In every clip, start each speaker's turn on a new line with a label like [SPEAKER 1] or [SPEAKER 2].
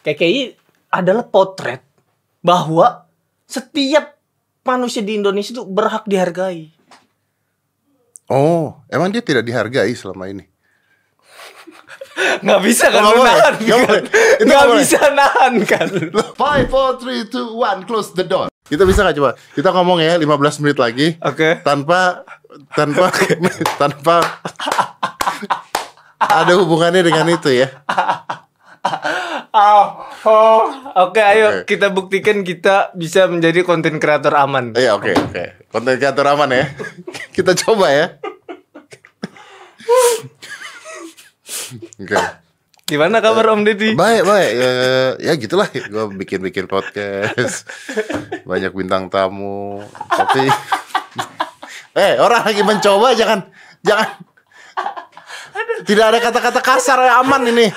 [SPEAKER 1] KKI adalah potret bahwa setiap manusia di Indonesia itu berhak dihargai.
[SPEAKER 2] Oh, emang dia tidak dihargai selama ini?
[SPEAKER 1] Nggak bisa kan
[SPEAKER 2] Nggak
[SPEAKER 1] lu
[SPEAKER 2] boleh,
[SPEAKER 1] nahan
[SPEAKER 2] nggak
[SPEAKER 1] kan?
[SPEAKER 2] boleh. Itu
[SPEAKER 1] Nggak
[SPEAKER 2] nggak boleh.
[SPEAKER 1] bisa nahan kan?
[SPEAKER 2] 5, 4, 3, 2, 1, close the door Kita bisa gak coba? Kita ngomong ya 15 menit lagi
[SPEAKER 1] Oke.
[SPEAKER 2] Tanpa Tanpa Tanpa Ada hubungannya dengan itu ya
[SPEAKER 1] Oh, oh. Oke, ayo
[SPEAKER 2] Oke.
[SPEAKER 1] kita buktikan kita bisa menjadi konten kreator aman.
[SPEAKER 2] Iya oke oke Konten kreator aman ya Kita coba ya Oke
[SPEAKER 1] Gimana kabar Om Deddy?
[SPEAKER 2] Baik baik Ya, Ya gitulah Gue bikin-bikin podcast Banyak bintang tamu Tapi Eh orang lagi mencoba Jangan Jangan Tidak ada kata-kata kasar ya, Aman ini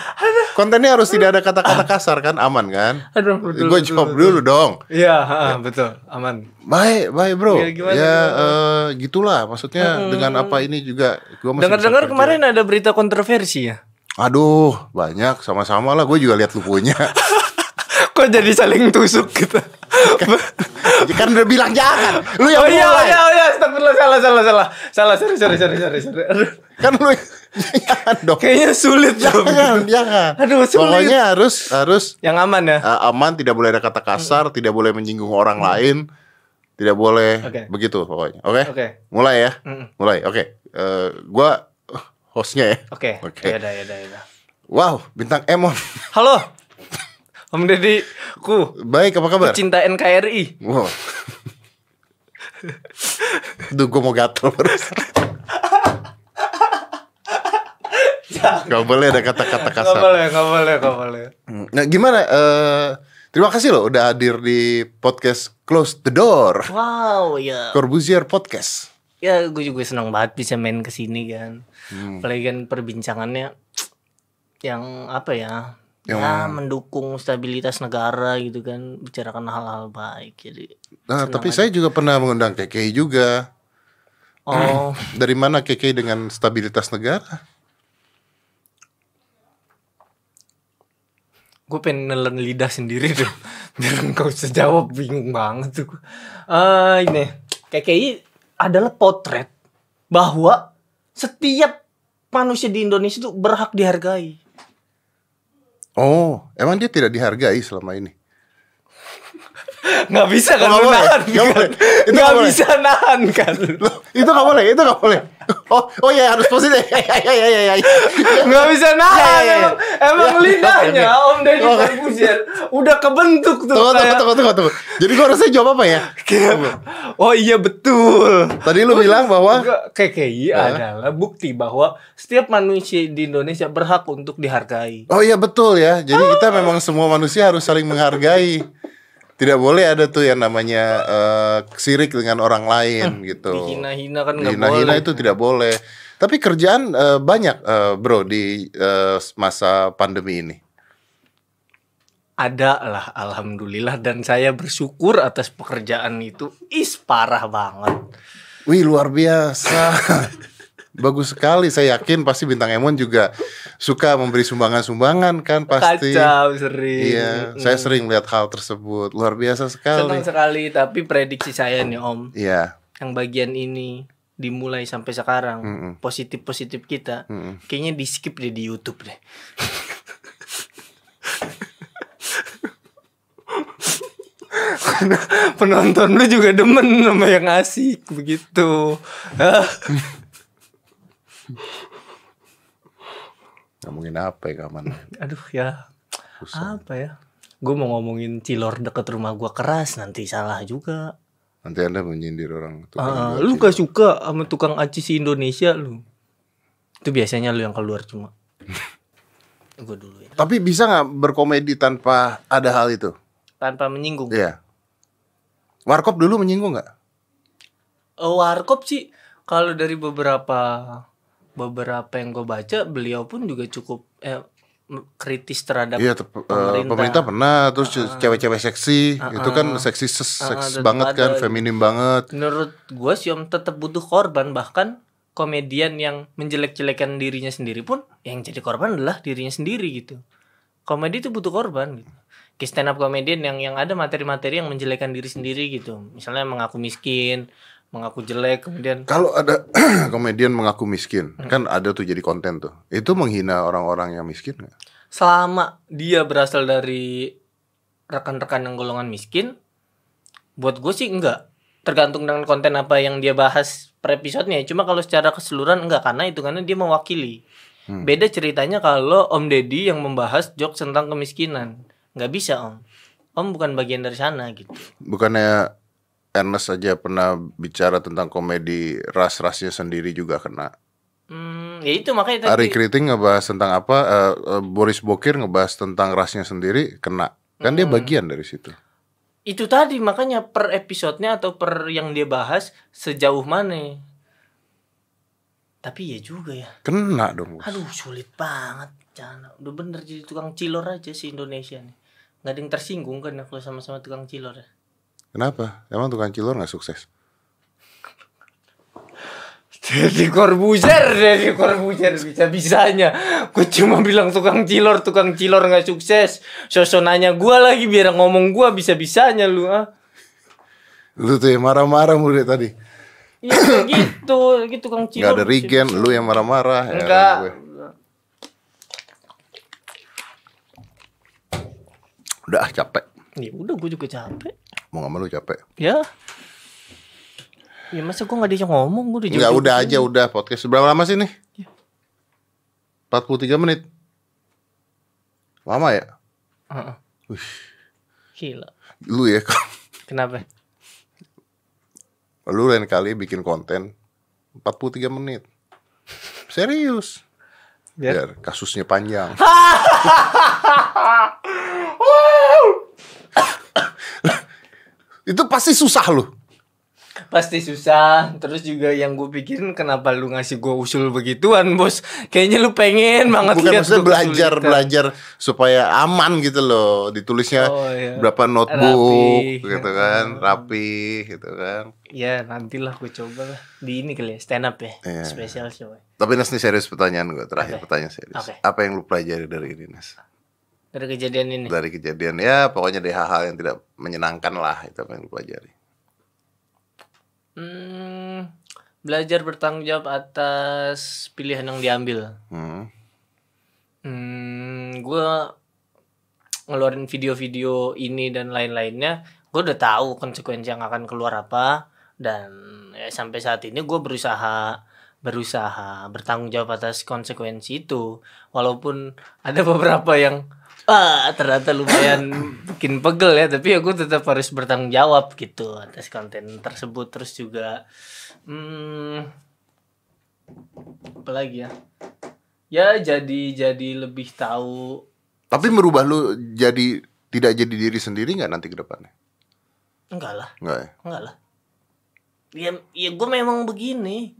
[SPEAKER 2] Kontennya harus tidak ada kata-kata kasar kan Aman kan
[SPEAKER 1] Aduh, betul,
[SPEAKER 2] Gue
[SPEAKER 1] betul,
[SPEAKER 2] jawab
[SPEAKER 1] betul.
[SPEAKER 2] dulu dong
[SPEAKER 1] Iya, ha, betul, aman.
[SPEAKER 2] Baik, baik bro.
[SPEAKER 1] Ya,
[SPEAKER 2] Ya,
[SPEAKER 1] gimana,
[SPEAKER 2] eh, gitulah. Maksudnya dengan apa ini juga gue masih.
[SPEAKER 1] Dengar-dengar
[SPEAKER 2] bisa kerja.
[SPEAKER 1] kemarin ada berita kontroversi ya.
[SPEAKER 2] Aduh, banyak sama-sama lah. Gue juga lihat lu punya.
[SPEAKER 1] Kok jadi saling tusuk gitu?
[SPEAKER 2] kan udah bilang jangan. Lu yang
[SPEAKER 1] oh iya, oh
[SPEAKER 2] mulai.
[SPEAKER 1] iya, oh iya, astagfirullah, salah, salah, salah. Salah, sorry, sorry, sorry, sorry, sorry. Aduh,
[SPEAKER 2] Kan lu jangan dong.
[SPEAKER 1] kayaknya sulit Om.
[SPEAKER 2] Jangan, jangan.
[SPEAKER 1] Aduh, sulit.
[SPEAKER 2] Pokoknya harus harus
[SPEAKER 1] Yang aman ya.
[SPEAKER 2] eh, aman, tidak boleh ada kata kasar,
[SPEAKER 1] Hmm.
[SPEAKER 2] tidak boleh menyinggung orang lain, tidak boleh
[SPEAKER 1] Oke.
[SPEAKER 2] begitu pokoknya. Oke.
[SPEAKER 1] Oke.
[SPEAKER 2] Mulai ya.
[SPEAKER 1] Mm.
[SPEAKER 2] Mulai. Oke. Eh, gua hostnya ya.
[SPEAKER 1] Oke,
[SPEAKER 2] Oke.
[SPEAKER 1] okay. yaudah, yaudah, yaudah.
[SPEAKER 2] Wow, bintang Emon.
[SPEAKER 1] Halo, Om Deddy, ku
[SPEAKER 2] Baik, apa kabar?
[SPEAKER 1] cinta NKRI.
[SPEAKER 2] Wow. Duh, gue mau gatel terus. Gak boleh ada kata-kata
[SPEAKER 1] Gak
[SPEAKER 2] kasar.
[SPEAKER 1] boleh, gak boleh, gak boleh.
[SPEAKER 2] Hmm. Nah, gimana? eh terima kasih loh udah hadir di podcast Close the Door.
[SPEAKER 1] Wow, ya,
[SPEAKER 2] Corbuzier Podcast.
[SPEAKER 1] ya gue juga senang banget bisa main ke sini kan. Apalagi kan perbincangannya yang apa ya? Ya mendukung stabilitas negara gitu kan, bicarakan hal-hal baik. Jadi
[SPEAKER 2] Nah, tapi saya juga pernah mengundang KKI juga.
[SPEAKER 1] oh,
[SPEAKER 2] Dari mana KKI dengan stabilitas negara?
[SPEAKER 1] gue pengen nelen lidah sendiri dong biar engkau bisa jawab bingung banget tuh gue. Eh, ini KKI adalah potret bahwa setiap manusia di Indonesia itu berhak dihargai
[SPEAKER 2] Oh, emang dia tidak dihargai selama ini?
[SPEAKER 1] nggak bisa kan
[SPEAKER 2] Nggak
[SPEAKER 1] lu
[SPEAKER 2] boleh,
[SPEAKER 1] nahan kan nggak
[SPEAKER 2] nggak boleh. Itu nggak boleh.
[SPEAKER 1] bisa nahan kan
[SPEAKER 2] Loh, itu gak boleh, itu gak boleh. Oh, oh ya harus positif. Ya, ya, ya, ya, ya.
[SPEAKER 1] nggak bisa
[SPEAKER 2] Ya,
[SPEAKER 1] nahan
[SPEAKER 2] ya, ya.
[SPEAKER 1] emang, emang
[SPEAKER 2] Ya,
[SPEAKER 1] lidahnya
[SPEAKER 2] oke, oke.
[SPEAKER 1] Om Deddy
[SPEAKER 2] Oke.
[SPEAKER 1] Corbuzier udah kebentuk tuh
[SPEAKER 2] Tunggu, tunggu,
[SPEAKER 1] kayak-
[SPEAKER 2] tunggu, tunggu, tunggu. Jadi gua harusnya jawab apa ya?
[SPEAKER 1] oh iya betul
[SPEAKER 2] Tadi lu bilang bahwa
[SPEAKER 1] Enggak, KKI adalah bukti bahwa setiap manusia di Indonesia berhak untuk dihargai.
[SPEAKER 2] Oh iya betul ya. Jadi kita memang semua manusia harus saling menghargai. Tidak boleh ada tuh yang namanya eh, sirik dengan orang lain gitu.
[SPEAKER 1] Dihina-hina Eh, kan nggak boleh.
[SPEAKER 2] Hina-hina itu tidak boleh. Tapi kerjaan eh, banyak eh, bro di eh, masa pandemi ini.
[SPEAKER 1] Ada lah, alhamdulillah dan saya bersyukur atas pekerjaan itu. Is parah banget.
[SPEAKER 2] Wih luar biasa Bagus sekali Saya yakin pasti Bintang Emon juga Suka memberi sumbangan-sumbangan kan Pasti
[SPEAKER 1] Kacau sering.
[SPEAKER 2] Iya Saya sering lihat hal tersebut Luar
[SPEAKER 1] Hmm.
[SPEAKER 2] biasa
[SPEAKER 1] Senang
[SPEAKER 2] sekali
[SPEAKER 1] sekali, tapi prediksi saya nih Om,
[SPEAKER 2] Iya
[SPEAKER 1] yang bagian ini dimulai sampai sekarang positif positif kita kayaknya di skip deh di YouTube deh penonton lu juga demen sama yang asik begitu
[SPEAKER 2] Ngomongin apa ya kaman
[SPEAKER 1] aduh ya apa ya gue mau ngomongin cilor deket rumah gua keras nanti salah juga
[SPEAKER 2] Nanti anda menyindir orang tuh.
[SPEAKER 1] Ah, lu gak suka sama tukang aci si Indonesia lu itu biasanya lu yang keluar cuma gue dulu ya
[SPEAKER 2] Tapi bisa nggak berkomedi tanpa ada hal itu
[SPEAKER 1] tanpa menyinggung
[SPEAKER 2] Iya Warkop dulu menyinggung nggak?
[SPEAKER 1] Eh, warkop sih kalau dari beberapa beberapa yang gue baca beliau pun juga cukup eh, m- kritis terhadap
[SPEAKER 2] Iya, tep- eh, pemerintah. pernah terus
[SPEAKER 1] Ah,
[SPEAKER 2] cewek-cewek seksi, itu kan seksi ses, seks
[SPEAKER 1] tetep
[SPEAKER 2] banget
[SPEAKER 1] Ah, ada.
[SPEAKER 2] kan, feminim banget.
[SPEAKER 1] menurut gue sih om tetap butuh korban bahkan komedian yang menjelek-jelekan dirinya sendiri pun yang jadi korban adalah dirinya sendiri gitu komedi itu butuh korban gitu. Kayak stand up comedian yang yang ada materi-materi yang menjelekan diri sendiri gitu. Misalnya mengaku miskin, mengaku jelek, kemudian
[SPEAKER 2] Kalau ada komedian mengaku miskin,
[SPEAKER 1] Hmm.
[SPEAKER 2] kan ada tuh jadi konten tuh. Itu menghina orang-orang yang miskin nggak?
[SPEAKER 1] selama dia berasal dari rekan-rekan yang golongan miskin, buat gue sih enggak. Tergantung dengan konten apa yang dia bahas per episodenya. Cuma kalau secara keseluruhan enggak karena itu karena dia mewakili. Beda ceritanya kalau Om Deddy yang membahas jokes tentang kemiskinan. Nggak bisa Om. Om bukan bagian dari sana gitu.
[SPEAKER 2] Bukannya Ernest aja pernah bicara tentang komedi ras-rasnya sendiri juga kena.
[SPEAKER 1] Hmm, ya itu makanya
[SPEAKER 2] Ari
[SPEAKER 1] tadi
[SPEAKER 2] Kriting ngebahas tentang apa? eh, eh, Boris Bokir ngebahas tentang rasnya sendiri kena. Kan
[SPEAKER 1] Hmm.
[SPEAKER 2] dia bagian dari situ.
[SPEAKER 1] itu tadi makanya per episodenya atau per yang dia bahas sejauh mana. Tapi ya juga ya.
[SPEAKER 2] Kena dong. Bos.
[SPEAKER 1] Aduh sulit banget Jangan Udah bener jadi tukang cilor aja sih Indonesia nih Gak ada yang tersinggung kan kalau sama-sama tukang cilor ya
[SPEAKER 2] Kenapa? Emang tukang cilor nggak sukses?
[SPEAKER 1] Jadi korbuzer Jadi korbuzer Bisa-bisanya Gue cuma bilang tukang cilor Tukang cilor gak sukses Sosonanya gue lagi Biar ngomong gue bisa-bisanya lu ah.
[SPEAKER 2] Lu tuh yang marah-marah mulai tadi.
[SPEAKER 1] Iya kayak gitu Lagi tukang
[SPEAKER 2] Nggak
[SPEAKER 1] cilor
[SPEAKER 2] ada regen, lu yang marah-marah. Heran
[SPEAKER 1] Enggak
[SPEAKER 2] gue. Udah ah, capek.
[SPEAKER 1] Ya udah gue juga capek
[SPEAKER 2] Mau nggak mau lu capek.
[SPEAKER 1] Ya Ya masa gue gak diajak ngomong Gue udah
[SPEAKER 2] Enggak
[SPEAKER 1] jauh-jauh
[SPEAKER 2] udah aja udah podcast berapa lama sih nih?
[SPEAKER 1] Iya.
[SPEAKER 2] 43 menit. Lama ya?
[SPEAKER 1] Heeh. Gila
[SPEAKER 2] Lu ya
[SPEAKER 1] Kenapa?
[SPEAKER 2] lu lain kali bikin konten 43 menit. Serius.
[SPEAKER 1] Biar-
[SPEAKER 2] Biar kasusnya panjang. Itu pasti susah lu.
[SPEAKER 1] Pasti susah Terus juga yang gue pikirin Kenapa lu ngasih gue usul begituan bos Kayaknya lu pengen banget
[SPEAKER 2] Bukan
[SPEAKER 1] lihat
[SPEAKER 2] maksudnya
[SPEAKER 1] gua
[SPEAKER 2] belajar
[SPEAKER 1] kesulitan.
[SPEAKER 2] belajar supaya aman gitu loh. Ditulisnya
[SPEAKER 1] Oh, iya.
[SPEAKER 2] berapa
[SPEAKER 1] Rapi.
[SPEAKER 2] notebook gitu kan, rapi gitu kan.
[SPEAKER 1] Ya nantilah gue coba lah Di ini kali ya stand up ya
[SPEAKER 2] Iya.
[SPEAKER 1] Special show ya.
[SPEAKER 2] Tapi Nas nih serius pertanyaan gue terakhir
[SPEAKER 1] Oke.
[SPEAKER 2] pertanyaan serius.
[SPEAKER 1] Oke.
[SPEAKER 2] Apa yang lu pelajari dari ini Nas?
[SPEAKER 1] Dari kejadian ini
[SPEAKER 2] Dari kejadian ya pokoknya dari hal-hal yang tidak menyenangkan lah itu apa yang lu pelajari.
[SPEAKER 1] hmm, Belajar bertanggung jawab atas pilihan yang diambil
[SPEAKER 2] Hmm.
[SPEAKER 1] hmm, Gue ngeluarin video-video ini dan lain-lainnya Gue udah tahu konsekuensi yang akan keluar apa Dan ya, sampai saat ini gue berusaha Berusaha bertanggung jawab atas konsekuensi itu Walaupun ada beberapa yang Ah, ternyata lumayan bikin pegel ya tapi aku tetap harus bertanggung jawab gitu atas konten tersebut terus juga hmm, apa lagi ya ya jadi jadi lebih tahu
[SPEAKER 2] Tapi merubah lu jadi tidak jadi diri sendiri nggak nanti ke depannya?
[SPEAKER 1] enggak lah
[SPEAKER 2] Enggak ya?
[SPEAKER 1] enggak lah ya ya gue memang begini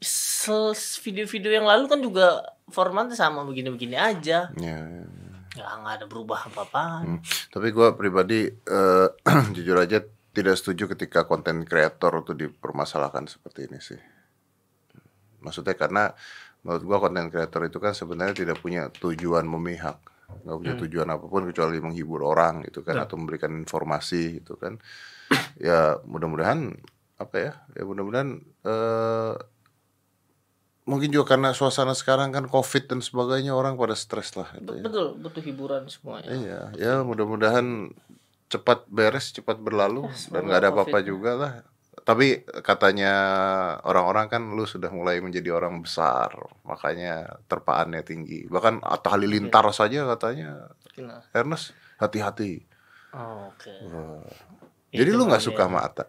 [SPEAKER 1] Sel- video-video yang lalu kan juga formatnya sama begini-begini aja
[SPEAKER 2] Ya, ya, ya.
[SPEAKER 1] nggak nggak ada berubah apa-apaan
[SPEAKER 2] Hmm. Tapi gue pribadi eh, jujur aja tidak setuju ketika konten kreator itu dipermasalahkan seperti ini sih. Maksudnya karena menurut gue konten kreator itu kan sebenarnya tidak punya tujuan memihak, nggak punya tujuan apapun kecuali menghibur orang gitu kan atau memberikan informasi gitu kan. ya mudah-mudahan apa ya? Ya mudah-mudahan eh, mungkin juga karena suasana sekarang kan covid dan sebagainya orang pada stres lah. gitu ya.
[SPEAKER 1] betul butuh hiburan semuanya
[SPEAKER 2] Iya, ya mudah-mudahan cepat beres, cepat berlalu
[SPEAKER 1] Nah,
[SPEAKER 2] dan nggak ada apa-apa juga lah. Tapi katanya orang-orang kan lu sudah mulai menjadi orang besar, makanya terpaannya tinggi. Bahkan Atta Halilintar
[SPEAKER 1] Iya.
[SPEAKER 2] saja katanya
[SPEAKER 1] Nah,
[SPEAKER 2] Ernest hati-hati.
[SPEAKER 1] oh, oke
[SPEAKER 2] Jadi
[SPEAKER 1] Itu
[SPEAKER 2] lu nggak
[SPEAKER 1] makanya.
[SPEAKER 2] suka sama Atta?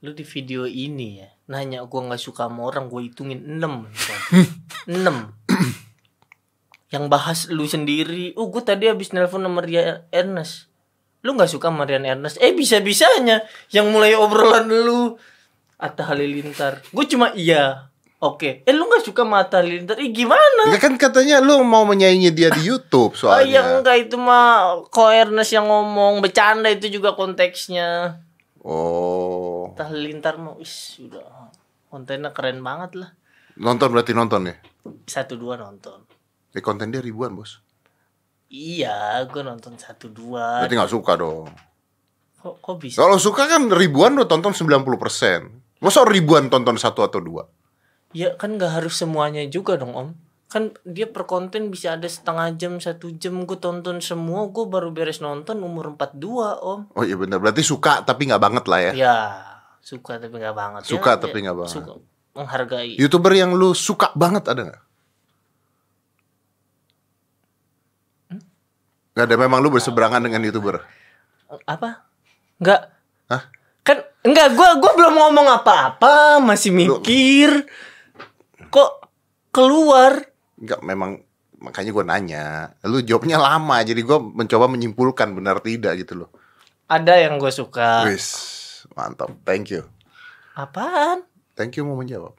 [SPEAKER 1] lu di video ini ya nanya gua nggak suka sama orang gue hitungin 6 6 yang bahas lu sendiri oh gue tadi habis nelpon sama Rian Ernest lu nggak suka sama Rian Ernest eh bisa bisanya yang mulai obrolan lu Atta Halilintar gue cuma iya oke eh lu nggak suka sama Atta Halilintar eh gimana
[SPEAKER 2] Ya kan katanya lu mau menyaingi dia di YouTube
[SPEAKER 1] Oh iya
[SPEAKER 2] soalnya.
[SPEAKER 1] enggak itu mah Ko Ernest yang ngomong bercanda itu juga konteksnya
[SPEAKER 2] Oh,
[SPEAKER 1] Atta Halilintar mah wis udah kontennya keren banget lah
[SPEAKER 2] nonton berarti nonton ya?
[SPEAKER 1] satu dua nonton
[SPEAKER 2] Eh konten dia ribuan bos.
[SPEAKER 1] Iya, gue nonton satu dua.
[SPEAKER 2] Berarti nggak suka dong.
[SPEAKER 1] Kok, kok bisa?
[SPEAKER 2] Kalau suka kan ribuan lo tonton 90 persen. Masa ribuan tonton satu atau dua?
[SPEAKER 1] Ya kan nggak harus semuanya juga dong om. Kan dia per konten bisa ada setengah jam, satu jam gue tonton semua, gue baru beres nonton umur 42 om.
[SPEAKER 2] Oh iya benar. Berarti suka tapi nggak banget lah ya.
[SPEAKER 1] Ya suka tapi nggak banget. Ya,
[SPEAKER 2] Suka
[SPEAKER 1] ya,
[SPEAKER 2] tapi nggak banget.
[SPEAKER 1] Suka menghargai.
[SPEAKER 2] Youtuber yang lu suka banget ada nggak? Nggak ada. Memang lu berseberangan dengan youtuber.
[SPEAKER 1] Apa? Nggak.
[SPEAKER 2] Hah?
[SPEAKER 1] Kan enggak gua gua belum ngomong apa-apa, masih mikir. Kok keluar?
[SPEAKER 2] Nggak. Memang makanya gue nanya. Lu jawabnya lama. Jadi gue mencoba menyimpulkan benar tidak gitu loh.
[SPEAKER 1] Ada yang gue suka.
[SPEAKER 2] Wis mantap. Thank you.
[SPEAKER 1] Apaan?
[SPEAKER 2] Thank you mau menjawab.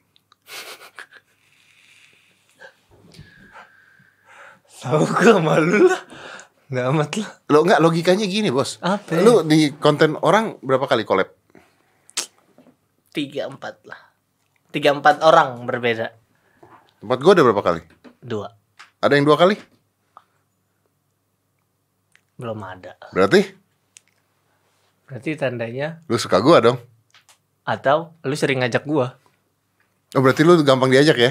[SPEAKER 1] Tahu gue malu lah. Nggak amat lah.
[SPEAKER 2] Lo nggak logikanya gini bos.
[SPEAKER 1] Apa?
[SPEAKER 2] Lu di konten orang berapa kali collab?
[SPEAKER 1] Tiga empat lah. Tiga empat orang berbeda.
[SPEAKER 2] Tempat gue ada berapa kali?
[SPEAKER 1] Dua.
[SPEAKER 2] Ada yang dua kali?
[SPEAKER 1] Belum ada.
[SPEAKER 2] Berarti
[SPEAKER 1] Berarti tandanya
[SPEAKER 2] lu suka gue dong.
[SPEAKER 1] atau lu sering ngajak gua.
[SPEAKER 2] Oh berarti lu gampang diajak ya?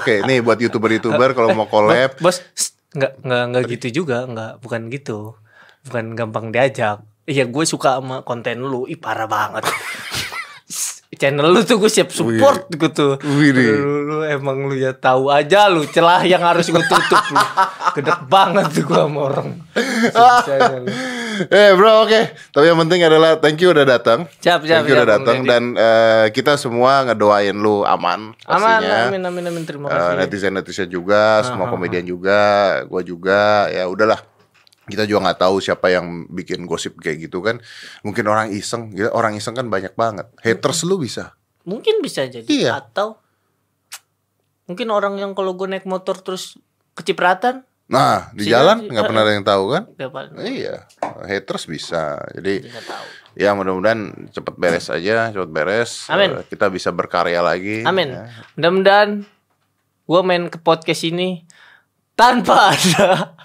[SPEAKER 2] Oke, nih buat youtuber-youtuber kalau mau collab,
[SPEAKER 1] Bos, sst, nggak nggak nggak gitu juga, nggak bukan gitu, bukan gampang diajak. Iya, gue suka sama konten lu, ih parah banget. Sss, Channel lu tuh gue siap support gue tuh.
[SPEAKER 2] Wih, deh.
[SPEAKER 1] Lu, lu emang lu ya tahu aja lu celah yang harus gue tutup lu. Gedek banget tuh gue sama orang. Sukses lu.
[SPEAKER 2] Eh bro oke Tapi yang penting adalah Thank you udah datang
[SPEAKER 1] Siap, siap,
[SPEAKER 2] Thank you
[SPEAKER 1] siap,
[SPEAKER 2] udah
[SPEAKER 1] Bang
[SPEAKER 2] datang
[SPEAKER 1] Deddy.
[SPEAKER 2] Dan eh, kita semua ngedoain lu aman
[SPEAKER 1] Aman,
[SPEAKER 2] pastinya.
[SPEAKER 1] amin, Ah, amin, amin, terima
[SPEAKER 2] Eh,
[SPEAKER 1] kasih.
[SPEAKER 2] Netizen-netizen juga Semua komedian juga Gue juga Ya udahlah kita juga nggak tahu siapa yang bikin gosip kayak gitu kan mungkin orang iseng Gila, orang iseng kan banyak banget haters lu bisa
[SPEAKER 1] Mungkin bisa jadi
[SPEAKER 2] Iya.
[SPEAKER 1] atau mungkin orang yang kalau gue naik motor terus kecipratan,
[SPEAKER 2] nah di
[SPEAKER 1] Bisa
[SPEAKER 2] jalan
[SPEAKER 1] jadi.
[SPEAKER 2] nggak pernah ada yang tahu kan
[SPEAKER 1] gak apa-
[SPEAKER 2] iya haters bisa jadi
[SPEAKER 1] nggak tahu.
[SPEAKER 2] Ya mudah-mudahan cepet beres aja, cepet beres.
[SPEAKER 1] Amin.
[SPEAKER 2] Eh, kita bisa berkarya lagi.
[SPEAKER 1] Amin.
[SPEAKER 2] Ya.
[SPEAKER 1] Mudah-mudahan gue main ke podcast ini tanpa ada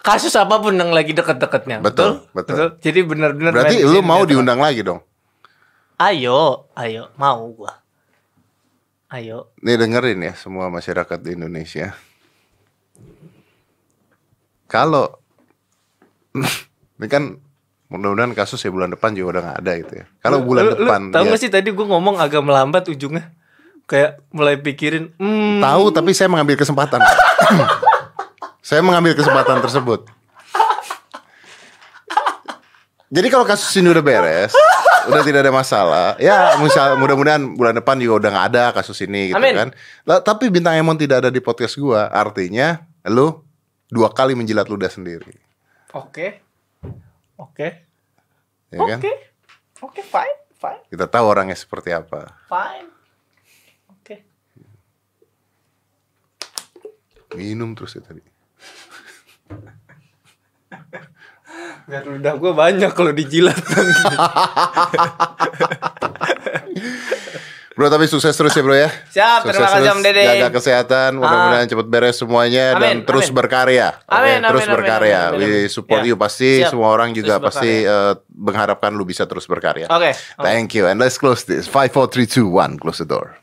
[SPEAKER 1] kasus apapun yang lagi deket-deketnya.
[SPEAKER 2] Betul, betul.
[SPEAKER 1] Jadi benar-benar. main
[SPEAKER 2] Berarti
[SPEAKER 1] di
[SPEAKER 2] lu
[SPEAKER 1] sini
[SPEAKER 2] mau
[SPEAKER 1] datang.
[SPEAKER 2] diundang lagi dong.
[SPEAKER 1] Ayo, ayo, mau gue. Ayo,
[SPEAKER 2] Nih dengerin ya semua masyarakat di Indonesia. Kalau ini kan mudah-mudahan kasus ya bulan depan juga udah nggak ada gitu ya. Kalau bulan
[SPEAKER 1] Lu- lu
[SPEAKER 2] depan
[SPEAKER 1] Tahu
[SPEAKER 2] ya,
[SPEAKER 1] gak sih tadi gue ngomong agak melambat ujungnya, kayak mulai pikirin. Hmm,
[SPEAKER 2] tahu tapi saya mengambil kesempatan. saya mengambil kesempatan tersebut. Jadi kalau kasus ini udah beres, udah tidak ada masalah. Ya, misal- mudah-mudahan bulan depan juga udah nggak ada kasus ini gitu
[SPEAKER 1] Amin.
[SPEAKER 2] kan. Lah, tapi bintang Emon tidak ada di podcast gua. Artinya lu dua kali menjilat ludah sendiri.
[SPEAKER 1] oke, oke,
[SPEAKER 2] Ya kan?
[SPEAKER 1] oke, oke, fine, fine,
[SPEAKER 2] Kita tahu orangnya seperti apa.
[SPEAKER 1] fine, oke.
[SPEAKER 2] Minum terus ya tadi.
[SPEAKER 1] Biar ludah gue banyak kalau dijilat nanti.
[SPEAKER 2] Bro, tapi sukses terus ya, Bro ya.
[SPEAKER 1] Siap,
[SPEAKER 2] Sukses
[SPEAKER 1] terima kasih,
[SPEAKER 2] terus,
[SPEAKER 1] Om Dedeng.
[SPEAKER 2] Jaga kesehatan, mudah-mudahan cepet beres semuanya dan
[SPEAKER 1] Amin,
[SPEAKER 2] terus
[SPEAKER 1] amin.
[SPEAKER 2] berkarya. Oke,
[SPEAKER 1] Amin, amin,
[SPEAKER 2] terus
[SPEAKER 1] amin,
[SPEAKER 2] berkarya.
[SPEAKER 1] amin, amin, amin.
[SPEAKER 2] We support
[SPEAKER 1] Ya.
[SPEAKER 2] you pasti
[SPEAKER 1] Siap,
[SPEAKER 2] semua orang
[SPEAKER 1] terus
[SPEAKER 2] juga
[SPEAKER 1] Oh,
[SPEAKER 2] pasti eh, mengharapkan lu bisa terus berkarya.
[SPEAKER 1] Oke.
[SPEAKER 2] Thank you and let's close this. 5 4 3 2 1 close the door.